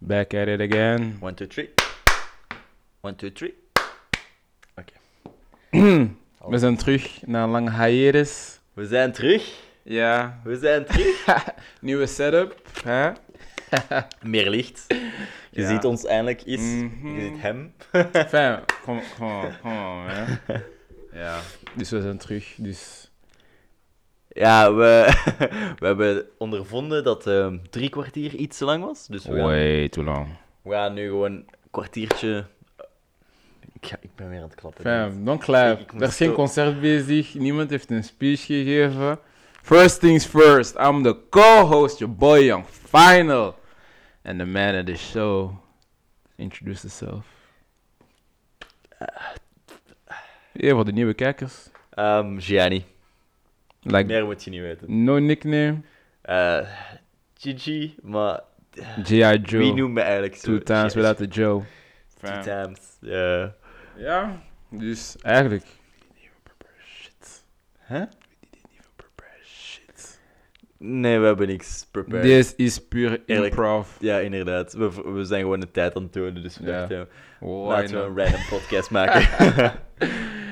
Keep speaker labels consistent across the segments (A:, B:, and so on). A: Back at it again.
B: One, two, three. One, two, three. Oké.
A: We zijn terug na een sånn lange hiatus.
B: We zijn terug.
A: Ja.
B: We zijn terug.
A: Nieuwe setup. Hè?
B: Meer licht. Je
A: Ja.
B: ziet ons eindelijk iets.
A: Mhm.
B: Je ziet hem.
A: Fijn, kom kom on, kom on, hè. Ja. sånn Dus we zijn terug. Dus
B: Ja, we, we hebben ondervonden dat ehm, drie kwartier iets te lang was. Dus we gaan,
A: way too long.
B: we gaan nu gewoon een kwartiertje... Ik, ga- ik ben weer aan het klappen.
A: Fijn, don't
B: Ik- ik
A: clap.
B: moet
A: Er is geen
B: sto-
A: concert bezig. Niemand heeft een speech gegeven. First things first. I'm the co-host, your boy Young Final. And the man of the show. Introduce yourself. Ja, voor de nieuwe kijkers.
B: Ehm, Gianni.
A: Like,
B: Meer moet je niet weten.
A: no nickname.
B: Eh, Gigi, maar
A: G.I. Joe.
B: wie noemt me eigenlijk zo?
A: Two times
B: Gigi.
A: without the Joe.
B: Two times. eh.
A: Ja, dus eigenlijk. Shit.
B: Huh?
A: Shit.
B: Nee, we hebben niks prepared.
A: Dit is puur
B: Eerlijk.
A: improv.
B: Ja, inderdaad. We, we zijn gewoon de tijd aan het tonen, dus we
A: Ja.
B: dachten,
A: Why
B: laten we
A: not?
B: een random podcast maken.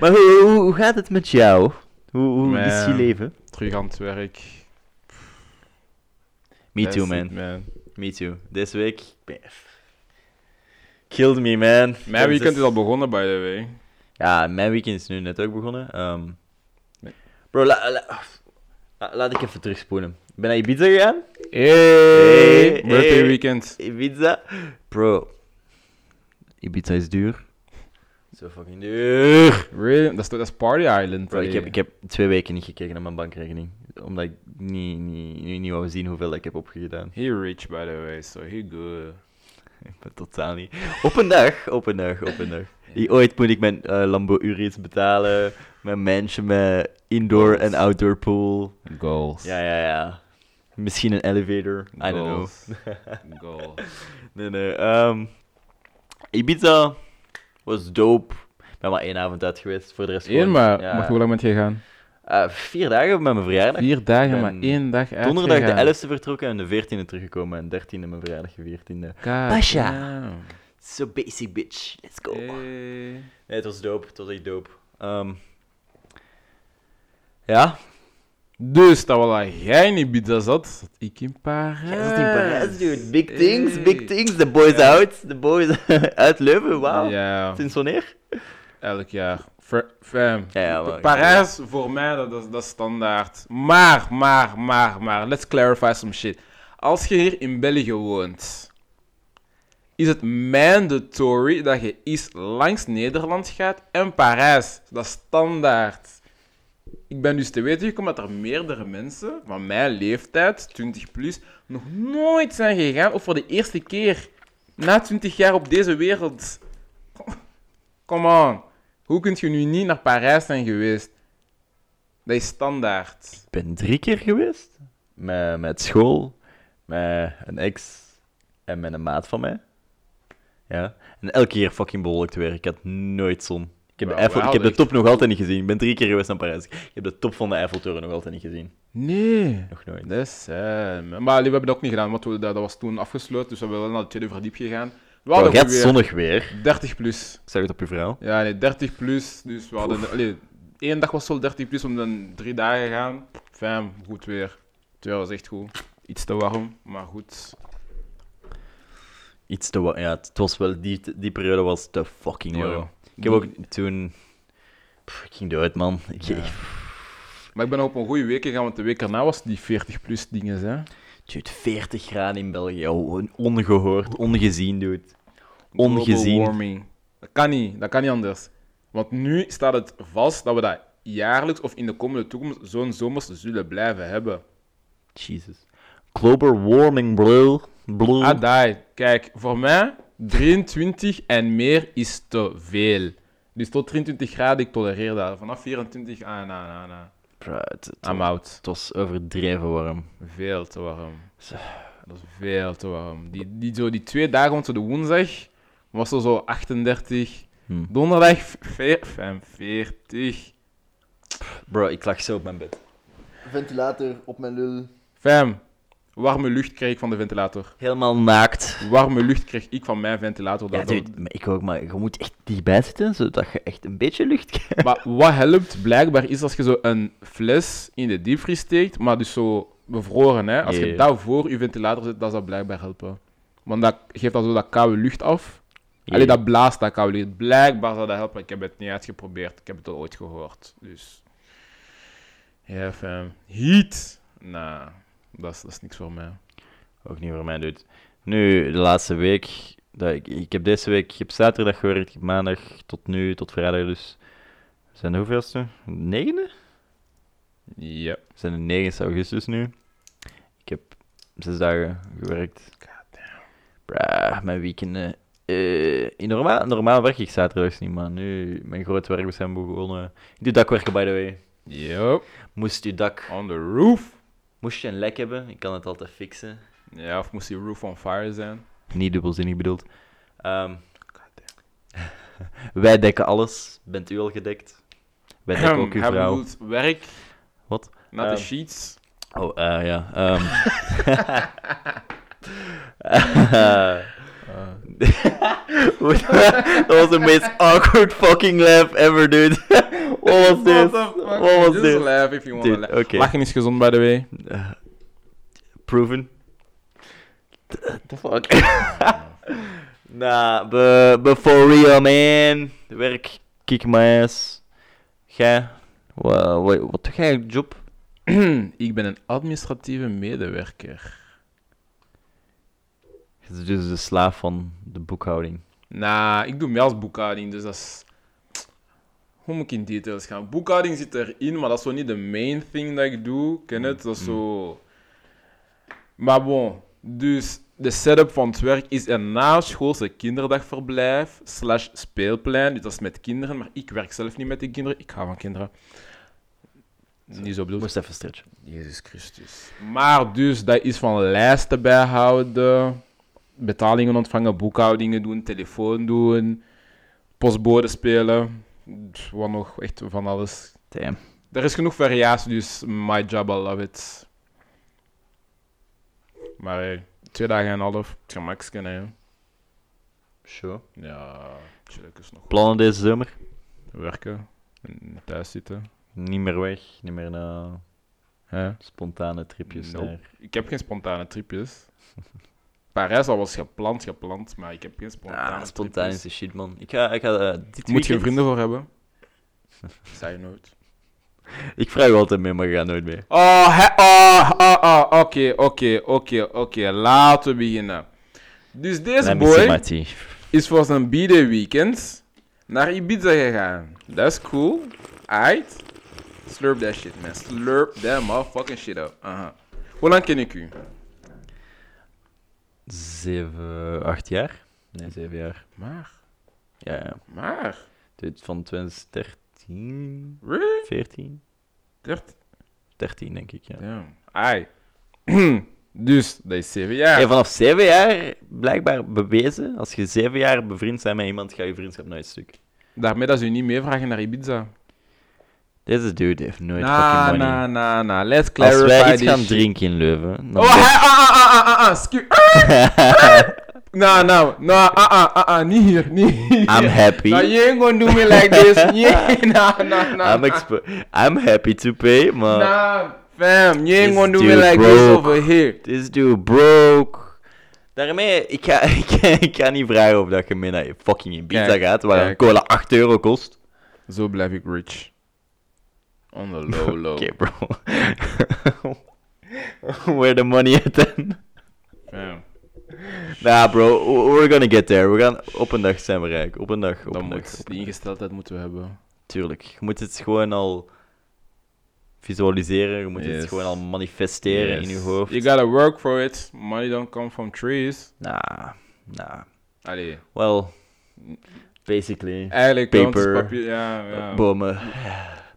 B: maar hoe, hoe, hoe gaat het met jou? Hoe, hoe is je
A: Man.
B: leven?
A: Terug aan het werk.
B: Me
A: That's
B: too,
A: it,
B: man. Me too. Deze week... ik ben- Killed me, man.
A: Mijn weekend is
B: Kansas-
A: al begonnen, by the way.
B: Ja, mijn weekend is nu net ook begonnen. Ehm,
A: Nee.
B: Bro, la- la- la- laat ik even terugspoelen. Ik ben naar Ibiza gegaan.
A: Hey!
B: hey.
A: Birthday weekend.
B: Ibiza. Bro. Ibiza is duur. Zo fucking duur.
A: Really? Dat is- Dat is Party Island. eh.
B: Bro, ik,
A: allee.
B: heb, ik heb twee weken niet gekeken naar mijn bankrekening. Omdat ik niet, niet, niet, niet wou zien hoeveel ik heb opgedaan.
A: He rich, by the way, so he good.
B: Ik ben totaal niet. Op een dag, op een dag, op een dag. I- Ooit moet ik mijn eh Lambo Uris betalen. Mijn mansion met indoor en outdoor pool.
A: Goals.
B: Ja, ja, ja. Misschien een elevator. I don't know.
A: Goals. Goals.
B: Nee, nee. ehm, Ibiza was dope. Ik ben maar één avond uit geweest. Voor de rest
A: Eén
B: gewoon-
A: maar.
B: ja.
A: Maar hoe lang bent je gegaan?
B: Eh, vier dagen met mijn verjaardag.
A: Vier dagen,
B: ben
A: maar één dag uit.
B: Donderdag de 11e vertrokken en de 14e teruggekomen. En 13e mijn verjaardag gevierd in de... Pasha. So basic bitch, let's go. Nee, het was dope, het was echt dope. Ehm, ja,
A: Dus, dat was dat jij in Ibiza zat, zat ik in Parijs.
B: jij zat in Parijs, dude. Big
A: Hey.
B: things, big things. The boys
A: Ja.
B: out, the boys uit Leuven, wauw.
A: Ja,
B: Sinds wanneer?
A: elk jaar. Ver- Fam.
B: Ja, ja, maar-
A: Parijs, voor mij, dat, dat, is- dat is standaard. Maar, maar, maar, maar, let's clarify some shit. Als je hier in België woont, is het mandatory dat je eens langs Nederland gaat en Parijs. Dat is standaard. Ik ben dus te weten gekomen dat er meerdere mensen van mijn leeftijd, 20 plus, nog nooit zijn gegaan of voor de eerste keer na 20 jaar op deze wereld. Come on. Hoe kunt je nu niet naar Parijs zijn geweest? Dat is standaard.
B: Ik ben drie keer geweest. Met, met school, met een ex en met een maat van mij. Ja. En elke keer fucking behoorlijk te werk. Ik had nooit zon. Ik heb, de,
A: Wauw,
B: Eiffel, ik
A: wauw,
B: heb de
A: echt.
B: top nog altijd niet gezien. Ik ben drie keer geweest naar Parijs. Ik heb de top van de Eiffeltoren nog altijd niet gezien.
A: Nee.
B: Nog nooit.
A: Dat is sad, man. Dus, eh, Maar allee, we hebben dat ook niet gedaan, want we, dat, dat was toen afgesloten. Dus we hebben wel naar de tweede verdiep gegaan. We
B: Bro,
A: hadden
B: het gaat
A: weer
B: zonnig weer.
A: 30 plus.
B: Ik zag het op je verhaal.
A: Ja, nee, 30 plus. Dus we hadden. Allee, één dag was zo 30 plus, om dan drie dagen gaan. Fijn, goed weer. Twee was echt goed. Iets te warm, maar goed.
B: Iets te wa- Ja, het was wel... Die, die periode was te fucking warm.
A: Ja.
B: Ik heb ook toen... Pff, ik ging dood, man. Ik,
A: Ja. Maar ik ben op een goede week gegaan, want de week erna was die 40 plus dingen, hè?
B: Dude, 40 graden in België. Oh, ongehoord, ongezien, dude. Ongezien.
A: Global warming. Dat kan niet, dat kan niet anders. Want nu staat het vast dat we dat jaarlijks of in de komende toekomst zo'n zomers zullen blijven hebben.
B: Jesus. Global warming, bro. Bro.
A: Ah, die. Kijk, voor mij 23 en meer is te veel. Dus tot 23 graden, ik tolereer dat. Vanaf 24, ah, na, na, na.
B: Bro, het, het-
A: I'm out.
B: het was overdreven warm.
A: Veel te warm.
B: Zo.
A: Dat is veel te warm. Die, die, zo, die twee dagen, want zo de woensdag was er zo 38.
B: Hm.
A: Donderdag veer- 45.
B: Bro, ik lag zo op mijn bed. Ventilator op mijn lul.
A: Fam, Warme lucht kreeg ik van de ventilator.
B: Helemaal naakt.
A: Warme lucht kreeg ik van mijn ventilator.
B: Ja,
A: Dat- dat-
B: dude, maar ik ook, maar je moet echt dichtbij zitten, zodat je echt een beetje lucht krijgt.
A: Maar wat helpt blijkbaar is als je zo een fles in de diepvries steekt, maar dus zo bevroren. Hè? Als je
B: Ja.
A: dat voor je ventilator zet, dan zou dat blijkbaar helpen. Want dat geeft dan zo dat koude lucht af. Alleen dat blaast dat koude lucht. Blijkbaar zou dat helpen. Ik heb het niet uitgeprobeerd. Ik heb het al ooit gehoord. Dus. Ja, fijn. Heat. Nou, dat is, dat is niks voor mij.
B: Ook niet voor mij, doet. Nu, de laatste week. Dat ik, ik heb deze week, ik heb zaterdag gewerkt, ik heb maandag tot nu, tot vrijdag dus. We zijn de hoeveelste? Negende?
A: Ja.
B: We zijn de 9 augustus nu. Ik heb zes dagen gewerkt. Bruh, mijn weekenden. eh, in normaal, normaal werk ik zaterdags niet, maar nu, mijn groot werk, we zijn begonnen. Ik doe dakwerken, by the way.
A: Yup.
B: Moest je dak,
A: On the roof.
B: moest je een lek hebben, ik kan het altijd fixen.
A: Ja, of moest die roof on fire zijn?
B: Niet dubbelzinnig bedoeld. Ehm, wij dekken alles. Bent u al gedekt? Wij dekken ook uw
A: Ehm, Hij
B: vrouw.
A: bedoelt werk.
B: Wat?
A: Naar de
B: Ehm,
A: sheets.
B: Oh, eh, ja. ehm. Eh, dat was de meest awkward fucking laugh ever, dude. What was this? What was
A: Just
B: this?
A: laugh if you want to
B: Dude,
A: laugh.
B: oké.
A: Lachen is gezond, by the way.
B: Eh, proven. The fuck? nah, but, but for real, man. Werk, kick my ass. Jij? Wa- wa- Wat doe jij, job?
A: ik ben een administratieve medewerker.
B: Het is dus de slaaf van de boekhouding.
A: Nou, ik doe meer als boekhouding, dus dat is... Hoe moet ik in details gaan? Boekhouding zit erin, maar dat is zo niet de main thing dat ik doe. Ken het? Dat is zo... Maar bon, dus de setup van het werk is een naschoolse kinderdagverblijf slash speelplein. Dus dat is met kinderen, maar ik werk zelf niet met die kinderen. Ik hou van kinderen. Niet zo bedoeld.
B: Moest even stretchen.
A: Jezus Christus. Maar dus, dat is van lijsten bijhouden, betalingen ontvangen, boekhoudingen doen, telefoon doen, postbode spelen, pff, wat nog, echt van alles.
B: Damn.
A: Er is genoeg variatie, dus my job, I love it. Maar hey, twee dagen en een half, het gemak hè.
B: Sure.
A: Ja, chillen is nog
B: Plannen deze zomer?
A: werken, en thuis zitten.
B: Niet meer weg, niet meer naar
A: Hè?
B: spontane tripjes.
A: Nope.
B: naar-
A: Ik heb geen spontane tripjes. Parijs al was gepland, gepland, maar ik heb geen spontane
B: Ah, spontaan is
A: tripjes.
B: de shit, man. Ik ga, ik ga eh,
A: Moet
B: dit
A: je
B: weekend-
A: er vrienden voor hebben? Zij nooit.
B: Ik vraag altijd mee, maar ik ga nooit mee.
A: Oh, hè- oh, oh, oh, oké, oké, oké, oké. Laten we beginnen. Dus deze
B: Let me see my
A: boy
B: tea.
A: is voor zijn b-day weekend naar Ibiza gegaan. That's cool. Aight. Slurp that shit, man. Slurp that motherfucking shit up. Aha. Hoe lang ken ik u?
B: Zeven, acht jaar? Nee, zeven jaar.
A: Maar,
B: Ja, ja.
A: maar,
B: Dit van 2013,
A: really?
B: 14?
A: 13?
B: 13, denk ik, ja.
A: Ja. Ai. dus, dat is zeven jaar.
B: Hey, vanaf zeven jaar, blijkbaar bewezen, als je zeven jaar bevriend bent met iemand, gaat je vriendschap nooit stuk.
A: Daarmee dat ze u niet meevragen naar Ibiza.
B: Deze dude heeft nooit
A: Na,
B: fucking money.
A: na, na, na. Let's
B: Als
A: clarify
B: wij iets
A: this
B: gaan
A: shit.
B: drinken in Leuven, dan
A: Oh, hij, ah, ah, ah, ah, ah, ah, scu- ah, ah. Nou, nou, nou, ah, ah, ah, ah, niet hier, niet hier.
B: I'm happy.
A: Nou, you ain't gonna do me like this. Yeah, nah, nah, nah.
B: I'm, exp- I'm happy to pay, maar
A: Nah, fam, you ain't
B: This
A: gonna do me
B: dude
A: like this
B: broke.
A: over here.
B: this dude broke. Daarmee, ik ga, ik, ga- ik ga niet vragen of dat je mee naar fucking Ibiza
A: Kijk,
B: gaat, waar een
A: kijk.
B: cola 8 euro kost.
A: Zo blijf ik rich. On the low, low.
B: Oké, bro. Where the money at then?
A: Fam,
B: Nah, bro, we're gonna get there. We gaan, op een dag zijn we rijk. Op een dag, op
A: dat
B: een dag.
A: moet,
B: op een
A: die
B: dag.
A: ingesteldheid moeten we hebben.
B: Tuurlijk. Je moet het gewoon al visualiseren. Je moet
A: Yes.
B: het gewoon al manifesteren in je
A: Yes.
B: hoofd.
A: You gotta work for it. Money don't come from trees.
B: Nah, nah.
A: Allee,
B: Well, basically.
A: eigenlijk wel, het is
B: Paper.
A: papier- Ja, ja.
B: Bomen.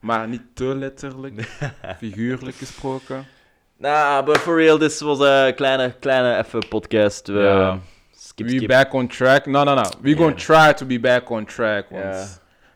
A: Maar niet te letterlijk, figuurlijk gesproken.
B: Nah, but for real, this was een kleine, kleine even podcast. We,
A: Ja.
B: Skip,
A: we
B: skip.
A: back on track. No, no, no. We
B: Ja.
A: gonna try to be back on track. Want
B: Ja.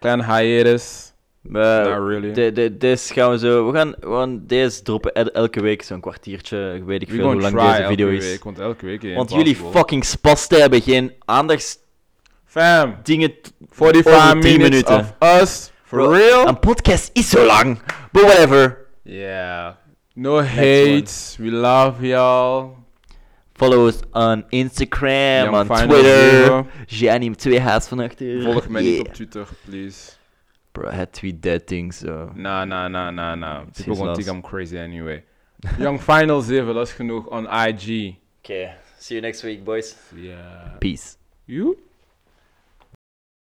A: Klein hiatus.
B: Maar
A: Not really.
B: de, de, deze gaan we zo... We gaan, we gaan deze droppen el- elke week zo'n kwartiertje. Weet ik
A: We
B: veel hoe
A: gonna
B: lang
A: try
B: deze
A: elke
B: video is.
A: week, want elke week is
B: Want jullie
A: impossible.
B: fucking spasten hebben geen aandachtsdingen...
A: Fam,
B: t-
A: 45
B: over 10
A: minutes minuten. of us, for
B: Bro,
A: real?
B: Een podcast is zo lang. But whatever.
A: Yeah. No hate, we love y'all.
B: Follow us on Instagram,
A: Young
B: on
A: Final
B: Twitter.
A: Zero.
B: Janine twee haas van achter.
A: Volg mij
B: Yeah.
A: niet op Twitter, please.
B: Bro, hij tweet dat ding zo.
A: Nah, nah, nah, nah, nah.
B: It's
A: People
B: his
A: gonna
B: loss.
A: think I'm crazy anyway. Young Final 7, dat is genoeg on IG.
B: Okay, see you next week, boys.
A: Yeah.
B: Peace.
A: You?